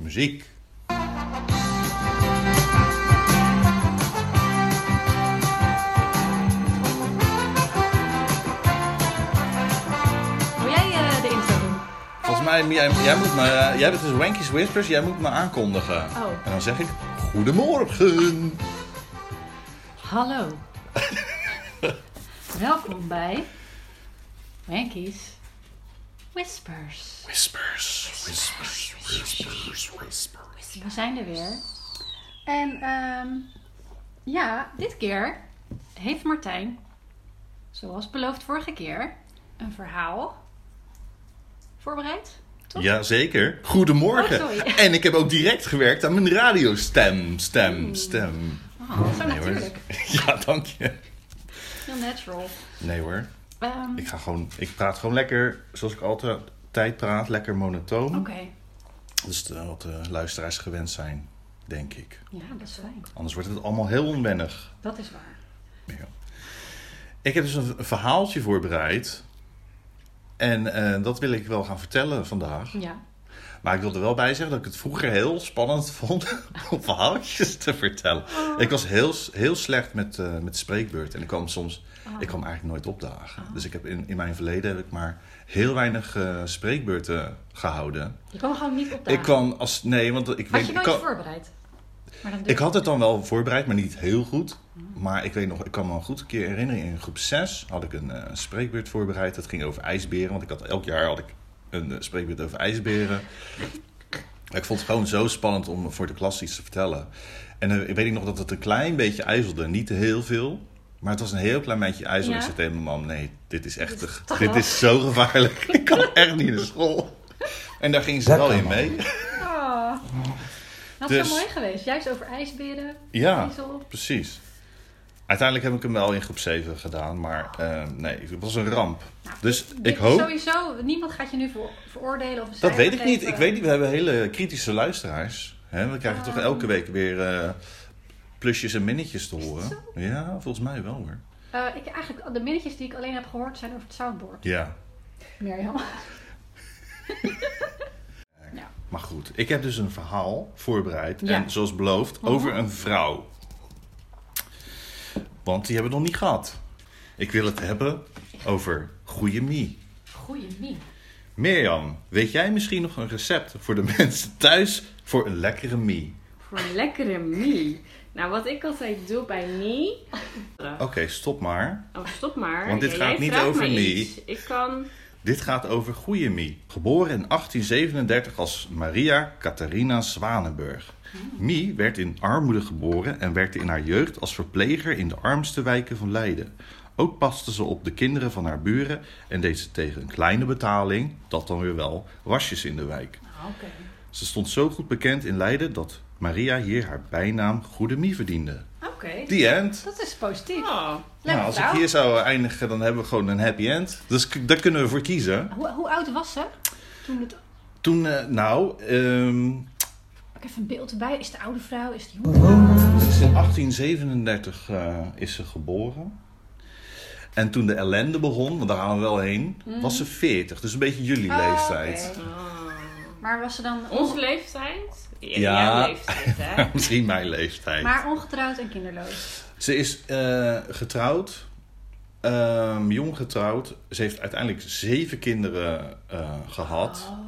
muziek. Wil jij eh, de intro doen? Volgens mij, jij, jij moet me, eh, jij bent dus Wankies Whispers, jij moet me aankondigen. Oh. En dan zeg ik, goedemorgen. Hallo. Welkom bij Wankies Whispers. Whispers, whispers, whispers, whispers. We zijn er weer. En ehm, ja, dit keer heeft Martijn, zoals beloofd vorige keer, een verhaal voorbereid. Toch? Jazeker. Goedemorgen. Oh, sorry. en ik heb ook direct gewerkt aan mijn radiostem, stem, stem. Oh, zo Nee hoor. Hmm. natuurlijk. Ja, dank je. Heel natural. Nee hoor. Ehm, Ik, ga gewoon, ik praat gewoon lekker, zoals ik altijd praat, lekker monotoon. Oké. Dat is eh, wat de luisteraars gewend zijn, denk ik. Ja, dat is fijn. Anders wordt het allemaal heel onwennig. Dat is waar. Ja. Ik heb dus een v- een verhaaltje voorbereid. En eh, dat wil ik wel gaan vertellen vandaag. Ja. Maar ik wil er wel bij zeggen dat ik het vroeger heel spannend vond om verhaaltjes te vertellen. Ik was heel, s- heel slecht met, eh met spreekbeurt en ik kwam soms, Ah. ik kwam eigenlijk nooit opdagen. Dus ik heb in, in mijn verleden heb ik maar heel weinig eh, spreekbeurten gehouden. Je kwam gewoon niet op Ik kwam als, nee, want ik Had je weet, wel ik, iets kan- voorbereid? Maar dan doe ik je- had het dan wel voorbereid, maar niet heel goed. Maar ik weet nog, ik kan me een goed keer herinneren, in groep 6 had ik een eh, spreekbeurt voorbereid. Dat ging over ijsberen, want ik had, elk jaar had ik een eh, spreekbeurt over ijsberen. Ik vond het gewoon zo spannend om voor de klas iets te vertellen. En eh, ik weet ik nog dat het een klein beetje ijzelde, niet te heel veel. Maar het was een heel klein beetje ijzel. Ja? Ik zei tegen mijn mam, nee, dit is echt, Dit is te- toch dit wel- is zo gevaarlijk. ik kan echt niet naar school. En daar ging ze Dat wel kan in wel. mee. Oh. Dat is Dus- zo mooi geweest. Juist over ijsberen. Ja, ijzel. precies. Uiteindelijk heb ik hem wel in groep 7 gedaan, maar eh, nee, het was een ramp. Dus Nou, Dit- ik hoop. Sowieso, niemand gaat je nu voor, veroordelen of een Dat cijfer weet ik niet. geven. Ik weet niet, we hebben hele kritische luisteraars. Hè? We krijgen toch elke week weer eh, plusjes en minnetjes te horen. Ja, volgens mij wel hoor. Eh, ik, eigenlijk, de minnetjes die ik alleen heb gehoord zijn over het soundboard. Ja, Mirjam. maar goed. Ik heb dus een verhaal voorbereid. Ja. En zoals beloofd, over een vrouw. Want die hebben we nog niet gehad. Ik wil het hebben over goede Mie. Goeie mie. Mirjam, weet jij misschien nog een recept voor de mensen thuis voor een lekkere mie? Voor een lekkere mie. Nou, wat ik altijd doe bij mie... Oké, stop maar. Oh, stop maar. Want dit Ja, gaat jij niet vraagt over mij mie. iets. Ik kan... Dit gaat over goede mie. Geboren in 1837 als Maria Catharina Zwanenburg. Mie werd in armoede geboren en werkte in haar jeugd als verpleger in de armste wijken van Leiden. Ook paste ze op de kinderen van haar buren en deed ze tegen een kleine betaling, dat dan weer wel, wasjes in de wijk. Ah, Oké. Ze stond zo goed bekend in Leiden dat Maria hier haar bijnaam Goede Mie verdiende. Oké. The end. Dat is positief. Oh. Leuk nou, als vrouw. ik hier zou eindigen, dan hebben we gewoon een happy end. Dus k- daar kunnen we voor kiezen. Hoe, hoe oud was ze? Toen het... Toen, eh, nou, ehm, Ik even een beeld erbij. Is de oude vrouw? Is de jonge ze is in 1837 eh, is ze geboren. En toen de ellende begon, want daar gaan we wel heen, was ze 40. Dus een beetje jullie Mhm. Oh, leeftijd. oké. Oh. Maar was ze dan... Onze leeftijd? Ja. Ja. Jouw leeftijd, hè? Misschien mijn leeftijd. Maar ongetrouwd en kinderloos. Ze is eh, getrouwd, ehm, jong getrouwd. Ze heeft uiteindelijk zeven kinderen eh, gehad. Oh.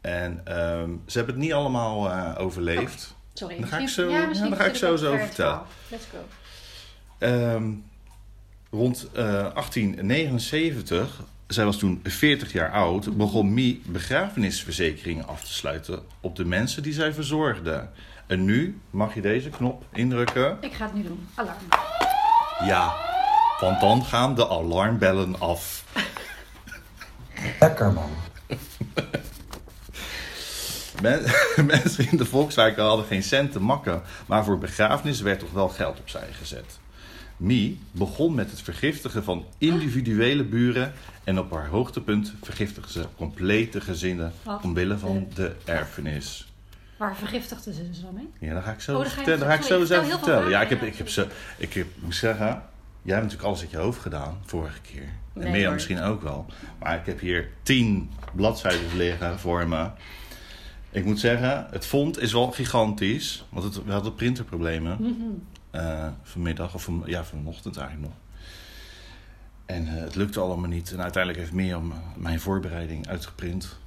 En ehm, ze hebben het niet allemaal eh, Oh. overleefd. Sorry. Dan ga ik misschien- zo- ja, misschien dan ga ik vertel zo zo wel over verder het vertellen. verhaal. Let's go. Ehm, rond eh, 1879, zij was toen 40 jaar oud, begon Mie begrafenisverzekeringen af te sluiten op de mensen die zij verzorgde. En nu mag je deze knop indrukken. Ik ga het nu doen. Alarm. Ja, want dan gaan de alarmbellen af. Lekker man. Men- mensen in de volkswijken hadden geen cent te makken, maar voor begrafenis werd toch wel geld opzij gezet. Mie begon met het vergiftigen van individuele buren en op haar hoogtepunt vergiftigde ze complete gezinnen Wat omwille van de erfenis. Waar vergiftigden ze ze dan mee? Ja, dan ga ik zo Oh, dan ga je vertellen. Dan ga ik vertellen. zo Sorry, zelf ik vertel heel vertellen. veel Ja, ik heb, vragen. ik heb ze. Ik heb, moet zeggen, jij hebt natuurlijk alles uit je hoofd gedaan vorige keer. En Nee, meer hoor. misschien ook wel. Maar ik heb hier tien bladzijden liggen voor me. Ik moet zeggen, het font is wel gigantisch. Want het, we hadden printerproblemen. Mhm. Eh, vanmiddag, of van, ja, vanochtend eigenlijk nog. En eh, het lukte allemaal niet. En uiteindelijk heeft Mirjam eh, mijn voorbereiding uitgeprint.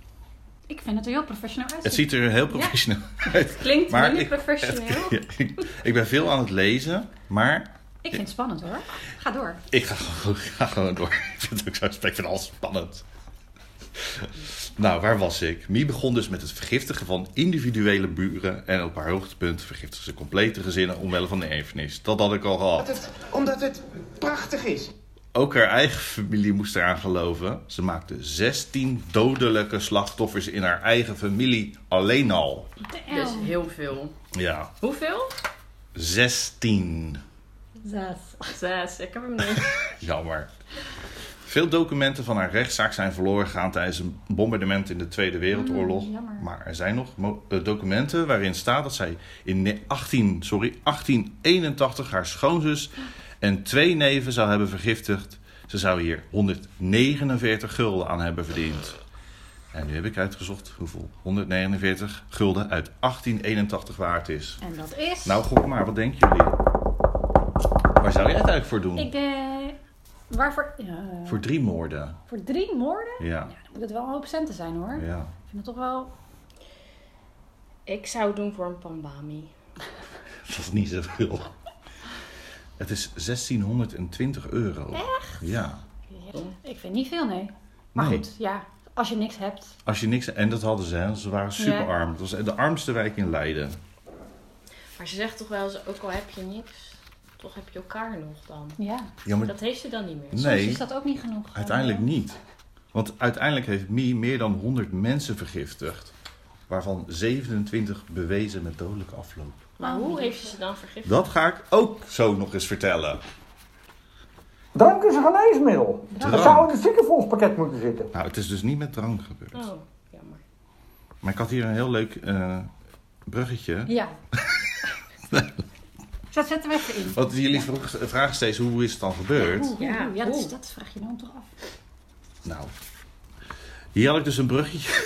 Ik vind het er heel professioneel uitzien. Het ziet er heel professioneel uit. Klinkt Maar minder ik- professioneel. Ja, ik, ik ben veel aan het lezen, maar Ik vind het spannend hoor. Ga door. ik ga, gewoon- ik ga gewoon door. Ik vind het ook zo ik vind het alles spannend. Nou, waar was ik? Mie begon dus met het vergiftigen van individuele buren. En op haar hoogtepunt vergiftigde ze complete gezinnen omwille van de erfenis. Dat had ik al gehad. Omdat het, omdat het prachtig is. Ook haar eigen familie moest eraan geloven. Ze maakte 16 dodelijke slachtoffers in haar eigen familie alleen al. De Dus L. heel veel. Ja, Hoeveel? 16. Zes. Zes. Ik heb hem niet. Jammer. Veel documenten van haar rechtszaak zijn verloren gegaan tijdens een bombardement in de Tweede Wereldoorlog. Mm, jammer. maar er zijn nog mo- eh, documenten waarin staat dat zij in ne- 18, sorry, 1881 haar schoonzus en twee neven zou hebben vergiftigd. Ze zou hier 149 gulden aan hebben verdiend. En nu heb ik uitgezocht hoeveel 149 gulden uit 1881 waard is. En dat is. Nou, gok maar, wat denken jullie? Waar zou jij het eigenlijk voor doen? Ik eh, denk. Waarvoor? eh, Voor drie moorden. voor drie moorden? Ja, Ja, dan moet het wel een hoop centen zijn hoor. ja. Ik vind het toch wel. Ik zou het doen voor een pandami. Dat is niet zoveel. Het is 1620 euro. Echt? Ja. Ik vind niet veel, nee. Maar Nee. goed, ja. Als je niks hebt. Als je niks... En dat hadden ze, hè. Ze waren superarm. Het was de armste wijk in Leiden. Maar ze zegt toch wel eens, ook al heb je niks, toch heb je elkaar nog dan. Ja. Ja, maar Dat heeft ze dan niet meer. Soms nee, is dat ook niet genoeg. eh. uiteindelijk niet. Want uiteindelijk heeft Mie meer dan 100 mensen vergiftigd. Waarvan 27 bewezen met dodelijke afloop. Maar hoe heeft ze ze dan vergiftigd? Dat ga ik ook zo nog eens vertellen. Drank is een geneesmiddel. Drank. Dat zou in het ziekenfondspakket moeten zitten. Nou, het is dus niet met drank gebeurd. Oh, jammer. Maar ik had hier een heel leuk eh, bruggetje. Ja. Dus dat zetten we even in. Want jullie vroeg- vragen steeds hoe is het dan gebeurd? Oeh, ja, Ja, ja dat, is- oeh. dat vraag je dan toch af. Nou, hier had ik dus een bruggetje.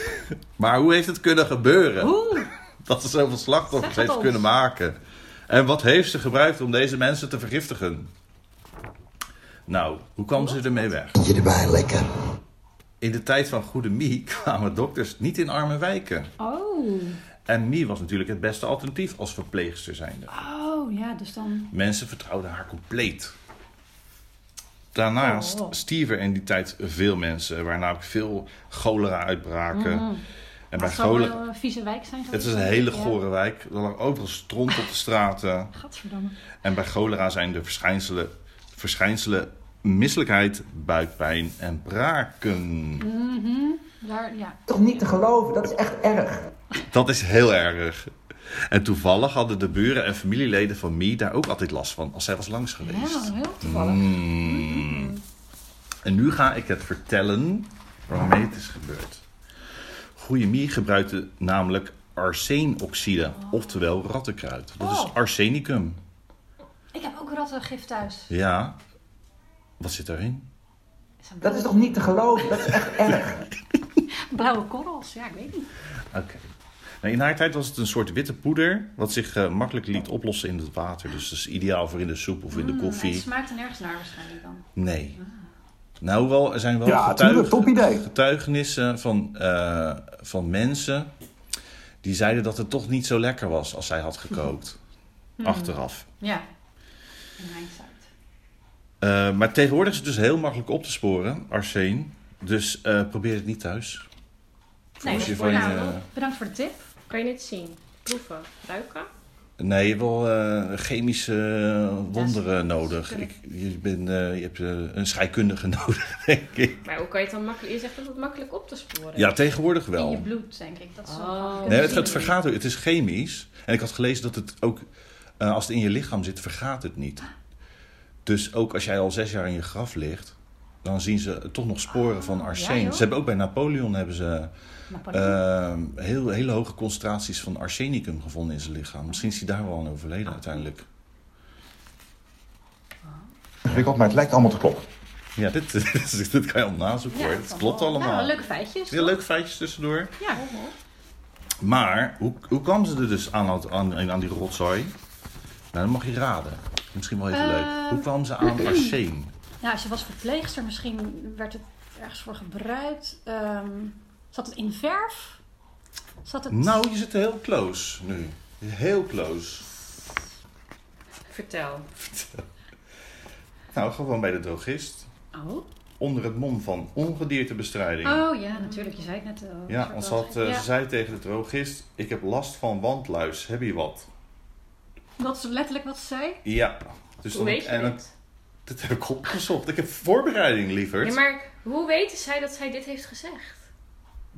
Maar hoe heeft het kunnen gebeuren? Oeh, Dat ze zoveel slachtoffers Zeg het heeft ons. kunnen maken. En wat heeft ze gebruikt om deze mensen te vergiftigen? Nou, hoe kwam ze ermee weg? Je erbij lekker. In de tijd van Goede Mie kwamen dokters niet in arme wijken. oh. En Mie was natuurlijk het beste alternatief als verpleegster zijnde. Oh, ja, dus dan. Mensen vertrouwden haar compleet. Daarnaast Oh. stierven in die tijd veel mensen, waar namelijk veel cholera-uitbraken. Mm-hmm. En bij Het zou cholera... wel een vieze wijk zijn. Het is een geweest. hele Ja. gore wijk. Er lag overal stront op de straten. Gadverdamme. En bij cholera zijn de verschijnselen, verschijnselen misselijkheid, buikpijn en braken. Mm. Daar, ja. Toch niet te geloven, dat is echt erg. Dat is heel erg. En toevallig hadden de buren en familieleden van Mie daar ook altijd last van als zij was langs geweest. Ja, heel toevallig. En nu ga ik het vertellen waarmee het is gebeurd. Goeie Mie gebruikte namelijk arseenoxide, oftewel rattenkruid. Dat is Oh. arsenicum. Ik heb ook rattengif thuis. Ja. Wat zit daarin? Is dat Dat is toch niet te geloven, dat is echt erg. Blauwe korrels, ja, ik weet niet. Oké. Nou, in haar tijd was het een soort witte poeder, wat zich eh, makkelijk liet oplossen in het water. Dus dat is ideaal voor in de soep of in de Het koffie. smaakt nergens naar waarschijnlijk dan. Nee. Nou, hoewel, er zijn wel Ja, tuurlijk, top idee. getuigenissen van, eh, van mensen die zeiden dat het toch niet zo lekker was als zij had gekookt. Mhm. Achteraf. Ja. In hindsight. Eh, maar tegenwoordig is het dus heel makkelijk op te sporen, arsen. Dus eh, probeer het niet thuis. Nee, Als je dat- van eh, je- nou, bedankt voor de tip. Kan je het zien? Proeven? Ruiken? Nee, wel eh, chemische eh, wonderen nodig. kunnen- Ik, je, ben, eh, je hebt eh, een scheikundige nodig, denk ik. Maar hoe kan je het dan makkelijk... Je zegt dat het makkelijk op te sporen Ja, tegenwoordig In je wel. bloed, denk ik. Dat ze Oh. gewoon kunnen Nee, het, zien. het vergaat ook. Het is chemisch. En ik had gelezen dat het ook, eh, als het in je lichaam zit, vergaat het niet. Dus ook als jij al zes jaar in je graf ligt, dan zien ze toch nog sporen van arsen. Ah, ja, joh. Oh, ze hebben ook bij Napoleon hebben ze Napoleon. eh, heel, hele hoge concentraties van arsenicum gevonden in zijn lichaam. Misschien is hij daar wel aan overleden uiteindelijk. Ingewikkeld, maar het lijkt allemaal te kloppen. Ja, dit, dit, dit kan je al nazoeken Ja, hoor. dat Nou, Het kan klopt wel. allemaal. Nou, leuke feitjes. Weer leuke feitjes tussendoor. Ja. Maar hoe, hoe kwam ze er dus aan, dat- aan, aan die rotzooi? Nou, dan mag je raden. Misschien wel even leuk. Ehm. Hoe kwam ze aan arsen? Nou, ze was verpleegster. Misschien werd het ergens voor gebruikt. Ehm, zat het in verf? Zat het... Nou, je zit heel close nu. Heel close. Vertel. Nou, gewoon bij de drogist. Oh. Onder het mom van ongediertebestrijding. oh, ja, natuurlijk. Je zei het net al. Ja, want ze, had, eh, Ja, ze zei tegen de drogist: Ik heb last van wandluis, heb je wat? Dat is letterlijk wat ze zei. Ja. Dus Hoe dan- weet je en dan- dit? dat heb ik opgezocht. Ik heb voorbereiding, lieverd. Ja, maar hoe weten zij dat zij dit heeft gezegd?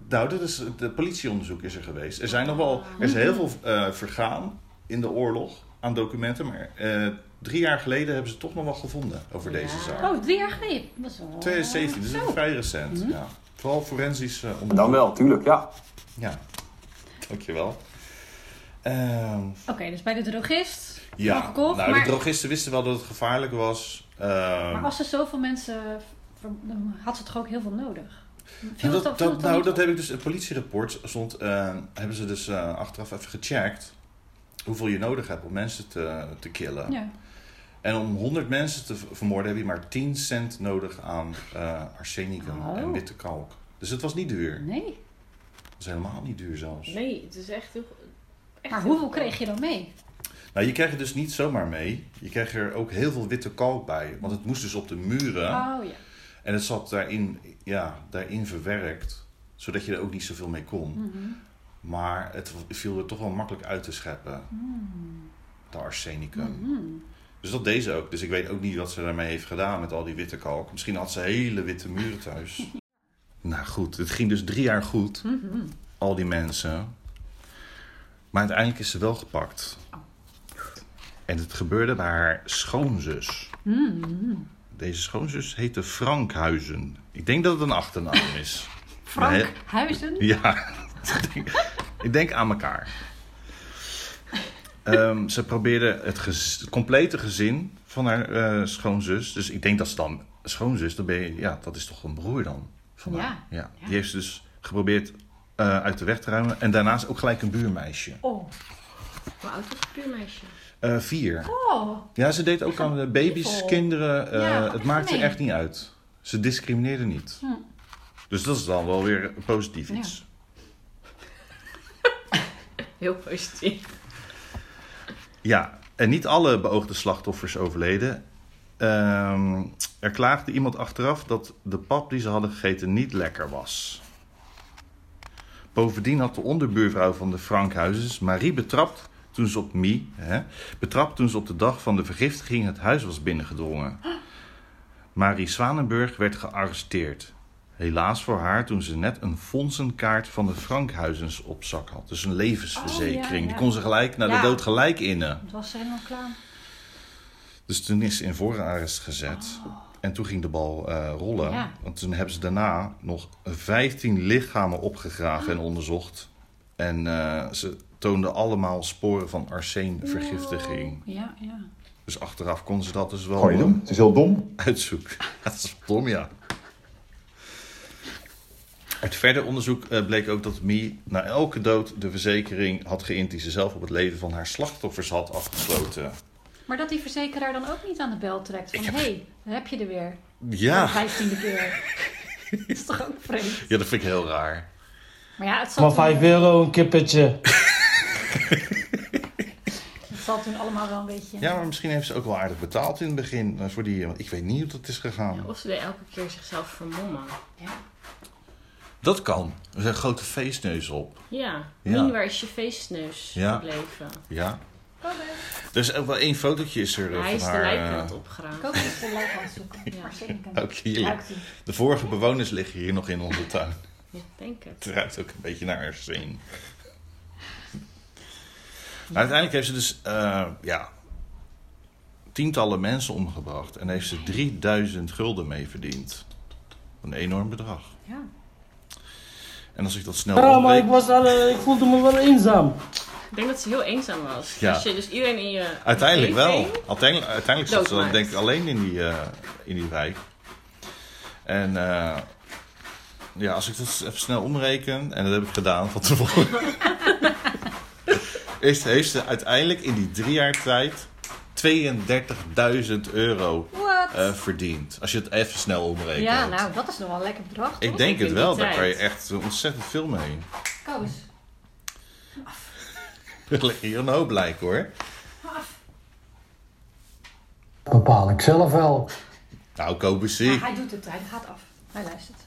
Nou, dit is, de politieonderzoek is er geweest. Er, zijn nog wel, er is heel veel eh, vergaan in de oorlog aan documenten. Maar eh, drie jaar geleden hebben ze toch nog wat gevonden over deze Ja. zaak. Oh, drie jaar geleden. Dat is wel... 2017, dus dat is Zo. vrij recent. Mhm. Ja. Vooral forensisch eh, onderzoek. Dan wel, tuurlijk, ja. Ja, dankjewel. Ehm Oké, dus bij de drogist. ja, Van gekocht, nou, maar- de drogisten wisten wel dat het gevaarlijk was. Ehm, Maar als ze zoveel mensen... ver- dan had ze toch ook heel veel nodig? Ja, Viel dat, het dan- viel dat, het dan nou, niet dat op? heb ik dus. Het politierapport stond. eh, hebben ze dus eh, achteraf even gecheckt. Hoeveel je nodig hebt om mensen te, te killen. Ja. En om 100 mensen te v- vermoorden heb je maar 10 cent nodig aan eh, arsenicum Oh. en witte kalk. Dus het was niet duur. Nee. Het was helemaal niet duur zelfs. Nee, het is echt heel... echt Maar heel hoeveel goedkoop. kreeg je dan mee? Nou, je krijgt het dus niet zomaar mee. Je krijgt er ook heel veel witte kalk bij. Want het moest dus op de muren. Oh ja. En het zat daarin, ja, daarin verwerkt. Zodat je er ook niet zoveel mee kon. Mhm. Maar het viel er toch wel makkelijk uit te scheppen. De arsenicum. Mhm. Dus dat deed ze ook. Dus ik weet ook niet wat ze daarmee heeft gedaan met al die witte kalk. Misschien had ze hele witte muren thuis. nou goed, het ging dus drie jaar goed. Al die mensen. Maar uiteindelijk is ze wel gepakt. En het gebeurde bij haar schoonzus. Deze schoonzus heette Frankhuizen. Ik denk dat het een achternaam is. Frank Nee. Huizen. Ja, ik denk- ik denk aan elkaar. Ehm, ze probeerde het, gez- het complete gezin van haar eh, schoonzus. Dus ik denk dat ze dan schoonzus, dan ben je, ja, dat is toch een broer dan? Van Ja, haar. ja. ja. Die heeft ze dus geprobeerd eh, uit de weg te ruimen. En daarnaast ook gelijk een buurmeisje. Oh. Hoe oud was het buurmeisje? Eh, vier. Oh. Ja, ze deed ook aan de baby's, evil. kinderen. eh, Ja, het echt maakte gemeen. Hm. echt niet uit. Ze discrimineerde niet. Dus dat is dan wel weer een positief Ja. iets. Heel positief. Ja, en niet alle beoogde slachtoffers overleden. Ehm, er klaagde iemand achteraf dat de pap die ze hadden gegeten niet lekker was. Bovendien had de onderbuurvrouw van de Frankhuizens Marie betrapt toen ze op Mie, hè, betrapt toen ze op de dag van de vergiftiging het huis was binnengedrongen. Marie Zwanenburg werd gearresteerd. Helaas voor haar toen ze net een fondsenkaart van de Frankhuizens op zak had. Dus een levensverzekering. Oh, ja, ja. Die kon ze gelijk naar Ja. de dood gelijk innen. Het was ze helemaal klaar. Dus toen is ze in voorarrest gezet. En toen ging de bal eh, rollen. Ja. Want toen hebben ze daarna nog 15 lichamen opgegraven en onderzocht. En eh, ze toonden allemaal sporen van arseenvergiftiging. Ja, ja. Dus achteraf konden ze dat dus wel Kan je eh, doen? Het is heel dom. uitzoeken. dat is dom, ja. Uit verder onderzoek eh, bleek ook dat Mie na elke dood de verzekering had geïnt... die ze zelf op het leven van haar slachtoffers had afgesloten. Maar dat die verzekeraar dan ook niet aan de bel trekt. Van, Ik heb- hé, hey, daar heb je er weer. Ja, De vijftiende keer. is toch ook vreemd. ja dat vind ik heel raar. Maar ja, het zal, Maar toen, 5 euro een kippetje. het zal toen allemaal wel een beetje... Ja, maar misschien heeft ze ook wel aardig betaald in het begin eh, voor die. eh, Want ik weet niet hoe dat is gegaan. Ja, of ze deed elke keer zichzelf vermommen. Dat kan. Er zijn grote feestneus op. Ja. Ja. Mien, waar is je feestneus Ja. gebleven? Ja. Er is ook wel één fotootje is er eh, Hij is van de haar. lijkland eh, Ik opgeruimd. hoop dat ze het leuk gaan zoeken. Ja. Maar zeker kan. ook hier. Ruikt ie. De vorige bewoners liggen hier nog in onze tuin. Ja, denk het. Het ruikt ook een beetje naar haar zin. Maar uiteindelijk heeft ze dus eh, ja, tientallen mensen omgebracht. En heeft ze 3000 gulden mee verdiend. Een enorm bedrag. Ja. En als ik dat snel Ja, maar omreken- ik, was alle, ik voelde me wel eenzaam. Ik denk dat ze heel eenzaam was. Ja. Als je dus iedereen in je Uiteindelijk wel. omgeving- Uiteindelijk, uiteindelijk zat ze dan Doodmaakt. denk ik alleen in die, eh, in die wijk. En eh, ja, als ik dat even snel omreken, en dat heb ik gedaan van tevoren. is, heeft ze uiteindelijk in die drie jaar tijd 32.000 euro What? eh, verdiend. Als je het even snel omrekent. ja, nou, dat is nog wel een lekker bedrag. Ik toch? denk het in wel, die daar kan je tijd. echt ontzettend veel mee. Koos. Er liggen hier een hoop lijken hoor. Bepaal ik zelf wel. Nou, kopen Ja, zie. hij doet het, hij gaat af. Hij luistert.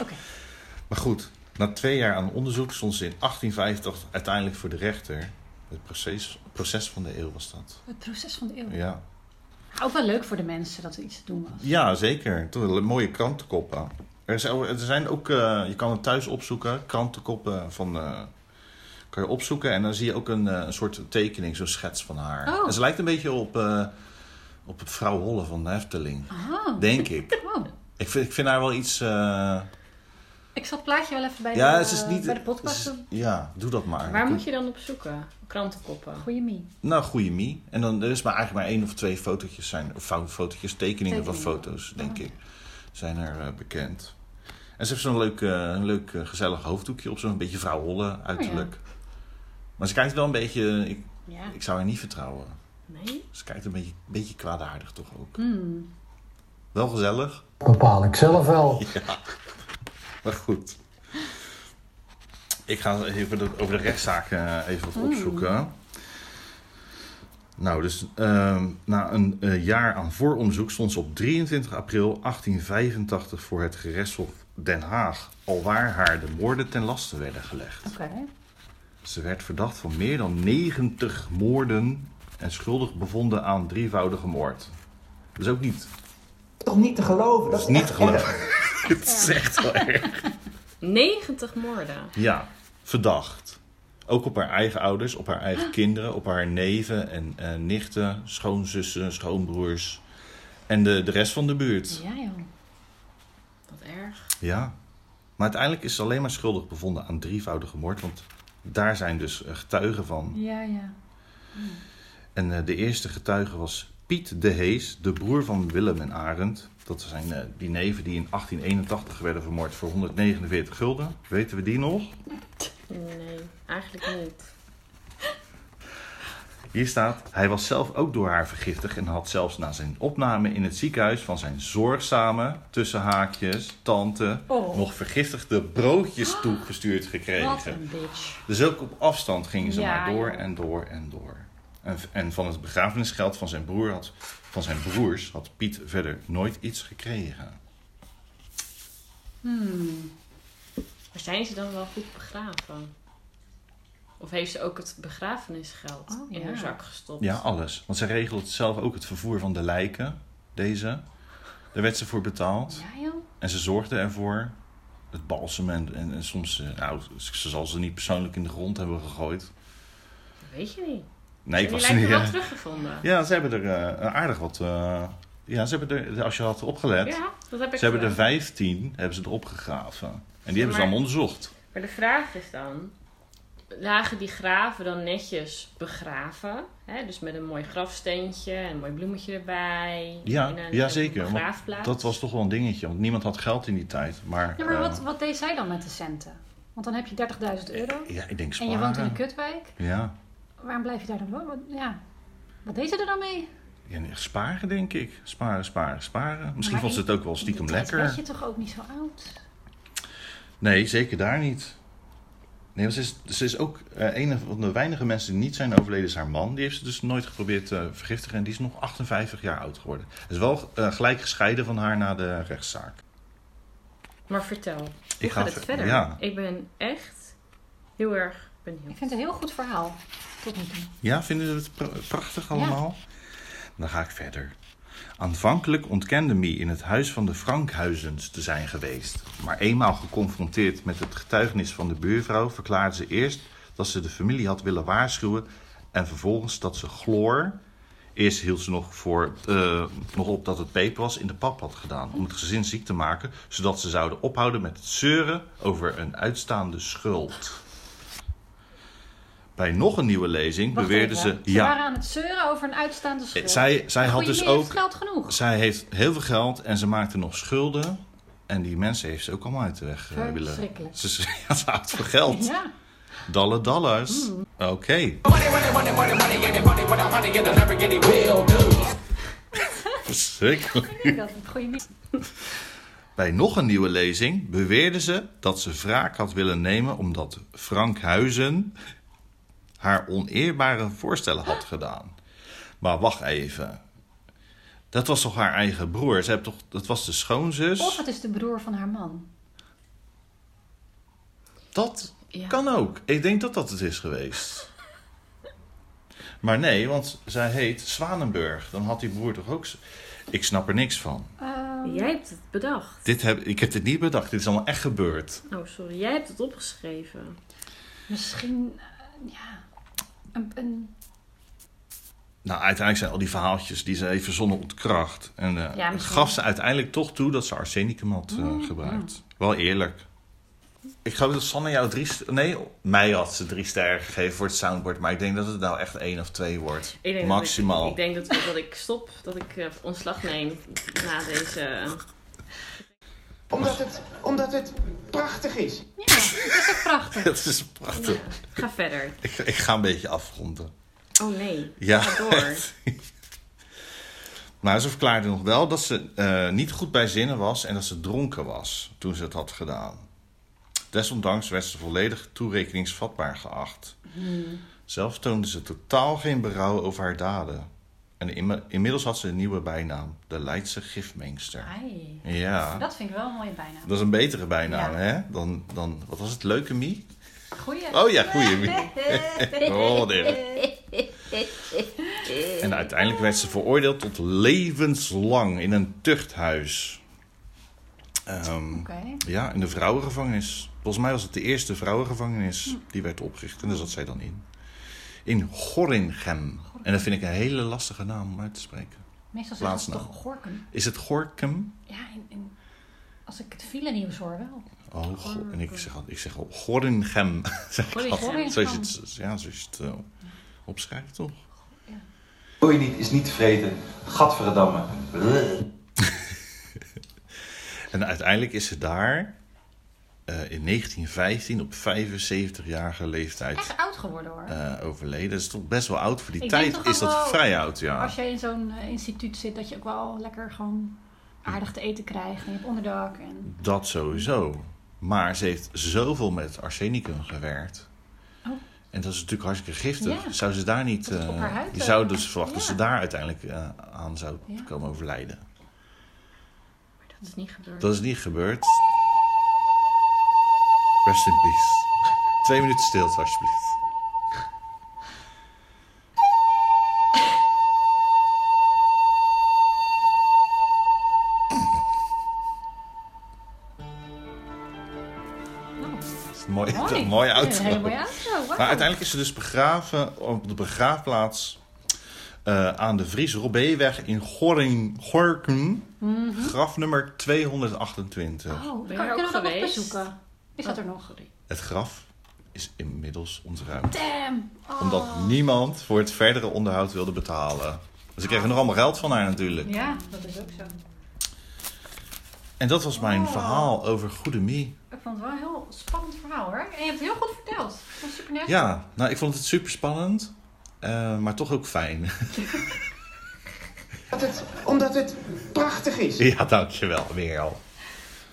Oké. Maar goed, na twee jaar aan onderzoek stond ze in 1850 uiteindelijk voor de rechter. Het proces, proces van de eeuw was dat. Het proces van de eeuw. Ja, Ook wel leuk voor de mensen dat er iets te doen was. ja zeker. Toen een mooie krantenkoppen. Er, is, er zijn ook, eh, je kan het thuis opzoeken, krantenkoppen van... eh, kan je opzoeken en dan zie je ook een, eh, een soort tekening, zo'n schets van haar. Oh. En ze lijkt een beetje op, eh, op het vrouw Holle van de Hefteling, Oh. denk ik. Oh. ik, vind, ik vind haar wel iets... eh, Ik zal het plaatje wel even bij, ja, de, ze is niet... bij de podcast ze is- doen. ja, doe dat maar. Waar moet je dan op zoeken? Krantenkoppen. Goeie mie. Nou, goede mie. En dan er is maar eigenlijk maar één of twee fotootjes zijn, of fou- fotootjes, tekeningen van Tekeningen. Oh. foto's, denk ik, zijn er eh, bekend. En ze heeft zo'n leuk, eh, een leuk eh, gezellig hoofddoekje op, zo'n beetje vrouw Holle uiterlijk. Oh, Maar ze kijkt wel een beetje, ik, Ja. ik zou haar niet vertrouwen. Nee? Ze kijkt een beetje, beetje kwaadaardig toch ook. Hmm. Wel gezellig, Bepaal ik zelf wel. maar goed. Ik ga even de- over de rechtszaak eh, even wat opzoeken. Nou, dus ehm, na een eh, jaar aan vooronderzoek stond ze op 23 april 1885 voor het gerechtshof Den Haag, alwaar haar de moorden ten laste werden gelegd. Oké. Ze werd verdacht van meer dan 90 moorden en schuldig bevonden aan drievoudige moord. Dat is ook niet. Toch niet te geloven. Dat is echt niet te geloven. Het is echt wel erg. 90 moorden. Ja, verdacht. Ook op haar eigen ouders, op haar eigen kinderen, op haar neven en eh, nichten, schoonzussen, schoonbroers. En de, de rest van de buurt. Ja, joh. Wat erg. Ja. Maar uiteindelijk is ze alleen maar schuldig bevonden aan drievoudige moord. Want daar zijn dus eh, getuigen van. Ja, ja. En eh, de eerste getuige was Piet de Hees, de broer van Willem en Arend. Dat zijn eh, die neven die in 1881 werden vermoord voor 149 gulden. Weten we die nog? Nee, eigenlijk niet. Hier staat, hij was zelf ook door haar vergiftigd en had zelfs na zijn opname in het ziekenhuis van zijn zorgzame, tussen haakjes, tante, Oh. nog vergiftigde broodjes toegestuurd Wat gekregen. een bitch. Dus ook op afstand gingen ze Ja, maar door joh. en door en door. En, en van het begrafenisgeld van zijn, broer had, van zijn broers had Piet verder nooit iets gekregen. Maar zijn ze dan wel goed begraven? Of heeft ze ook het begrafenisgeld Oh, in ja. haar zak gestopt? Ja, alles. Want ze regelt zelf ook het vervoer van de lijken, deze. Daar werd ze voor betaald. Ja, joh. En ze zorgde ervoor. Het balsem en, en, en soms... eh, Nou, ze ze zal ze niet persoonlijk in de grond hebben gegooid. Dat weet je niet. Nee, ik die was lijken niet... wel eh, teruggevonden. Ja, ze hebben er eh, aardig wat... eh, ja, ze hebben er... Als je had opgelet... Ja, dat heb ik ze hebben er gedaan. vijftien hebben ze erop gegraven. En die hebben ze Maar- allemaal onderzocht. Maar de vraag is dan: lagen die graven dan netjes begraven? Hè? Dus met een mooi grafsteentje en een mooi bloemetje erbij. Ja, in een- ja een zeker. Want begraafplaats. dat was toch wel een dingetje. Want niemand had geld in die tijd. Maar, Ja, maar eh, wat, wat deed zij dan met de centen? Want dan heb je 30.000 euro ja, ik denk en sparen. je woont in een kutwijk. Ja. Waarom blijf je daar dan wonen? Ja. Wat deed ze er dan mee? Ja, nee, sparen denk ik. Sparen, sparen, sparen. Misschien Maar vond ze in- het ook wel stiekem Dat werd lekker. je toch ook niet zo oud? Nee, zeker daar niet. Nee, want ze is, ze is ook eh een van de weinige mensen die niet zijn overleden, is haar man. Die heeft ze dus nooit geprobeerd te vergiftigen en die is nog 58 jaar oud geworden. Ze is wel eh, gelijk gescheiden van haar na de rechtszaak. Maar vertel, hoe Ik ga gaat het ver- verder? ja. Ik ben echt heel erg Ik benieuwd. vind het een heel goed verhaal. Tot nu toe. Ja, vinden ze het pra- prachtig allemaal? Dan ga ik verder. Aanvankelijk ontkende Mie in het huis van de Frankhuizens te zijn geweest. Maar eenmaal geconfronteerd met het getuigenis van de buurvrouw, verklaarde ze eerst dat ze de familie had willen waarschuwen. En vervolgens dat ze chloor. Eerst hield ze nog, voor, eh, nog op dat het peper was in de pap had gedaan. Om het gezin ziek te maken, zodat ze zouden ophouden met het zeuren over een uitstaande schuld. Bij nog een nieuwe lezing Wacht beweerde even. ze. Ze waren aan het zeuren over een uitstaande schuld. Zij, zij had Goeie dus meneer, ook. heeft geld genoeg. Zij heeft heel veel geld en ze maakte nog schulden. En die mensen heeft ze ook allemaal uit de weg eh, willen. Verschrikkelijk. Ze, ze, ja, ze houdt voor geld. Ja. Dalle dollars. Oké. Verschrikkelijk. Ik denk dat het een goede mis- Bij nog een nieuwe lezing beweerde ze dat ze wraak had willen nemen omdat Frank Huizen haar oneerbare voorstellen had gedaan. Maar wacht even. Dat was toch haar eigen broer? Ze hebt toch, dat was de Of schoonzus? het is de broer van haar man. Dat Ja. kan ook. Ik denk dat dat het is geweest. Maar nee, want zij heet Zwanenburg. Dan had die broer toch ook... z- Ik snap er niks van. Ehm, Jij hebt het bedacht. Dit heb, ik heb dit niet bedacht. Dit is allemaal echt gebeurd. Oh, sorry. Jij hebt het opgeschreven. Misschien, eh, ja, een, een, Nou, uiteindelijk zijn al die verhaaltjes die ze heeft verzonnen ontkracht. En eh, Ja, het misschien. Mm, gaf ze uiteindelijk toch toe dat ze arsenicum had eh, gebruikt. Wel eerlijk. Ik geloof dat Sanne jou drie... st- Nee, mij had ze drie sterren gegeven voor het soundboard. Maar ik denk dat het nou echt één of twee wordt. Ik denk Maximaal. Dat ik, ik denk dat, dat ik stop, dat ik eh, ontslag neem na deze. eh, Omdat het, omdat het prachtig is. ja, dat is toch prachtig. Het is prachtig. Ga verder. Ik, ik ga een beetje afronden. Oh nee. Ja. Ga door. Maar ze verklaarde nog wel dat ze eh, niet goed bij zinnen was en dat ze dronken was toen ze het had gedaan. Desondanks werd ze volledig toerekeningsvatbaar geacht. Zelf toonde ze totaal geen berouw over haar daden. En inme- inmiddels had ze een nieuwe bijnaam, de Leidse gifmengster. Ai, Ja, dat vind ik wel een mooie bijnaam. dat is een betere bijnaam, Ja. hè? Dan, dan, wat was het, leukemie? Goeie. Oh ja, goeie. Oh, nee. En uiteindelijk werd ze veroordeeld tot levenslang in een tuchthuis. Ehm, Oké. ja, in de vrouwengevangenis. Volgens mij was het de eerste vrouwengevangenis die werd opgericht. En daar zat zij dan in. In Gorinchem. En dat vind ik een hele lastige naam om uit te spreken. Meestal zeggen ze Plaatsnaam. toch Gorkum. Is het Gorkum? Ja, en, en als ik het file nieuws hoor wel. Oh, Go- en ik zeg, al- ik zeg al Gorinchem. zeg ik altijd. Gorinchem. Zoals je het, ja, zoals je het eh, opschrijft, toch? Wil je niet, is niet vreten. Gadverdamme. En uiteindelijk is ze daar eh, in 1915 op 75-jarige leeftijd Echt oud geworden hoor. eh, overleden. Dat is toch best wel oud voor die Ik denk tijd. toch Is ook dat wel- vrij oud, ja. Als je in zo'n eh, instituut zit, dat je ook wel lekker gewoon aardig te eten krijgt. En je hebt onderdak. En... Dat sowieso. Maar ze heeft zoveel met arsenicum gewerkt. Oh. En dat is natuurlijk hartstikke giftig. Ja. Zou ze daar niet... Dat het op eh, haar huid, je eh, zou dus verwachten dat ja. ze daar uiteindelijk eh, aan zou Ja. komen overlijden. Dat is niet gebeurd. Dat is niet gebeurd. Rest in peace. Twee minuten stilte, alsjeblieft. Dat is Mooi, dat is een mooie Ja, auto. Een hele mooie auto. wauw. Maar uiteindelijk is ze dus begraven op de begraafplaats eh, aan de Vries Robbeeweg in Goring, Gorkum. Graf nummer 228. Oh, Ben kan, je er kunnen we ook dat nog geweest? bezoeken? Is dat er nog? Het graf is inmiddels ontruimd. Damn. Oh. Omdat niemand voor het verdere onderhoud wilde betalen. Dus ik kreeg er nog allemaal geld van haar natuurlijk. Ja, dat is ook zo. En dat was mijn verhaal over Goede Mie. Ik vond het wel een heel spannend verhaal hoor. En je hebt het heel goed verteld. Ik vond het super nergens. Ja, nou ik vond het super spannend. eh, maar toch ook fijn. Omdat het, omdat het prachtig is. ja, dankjewel. Weer al.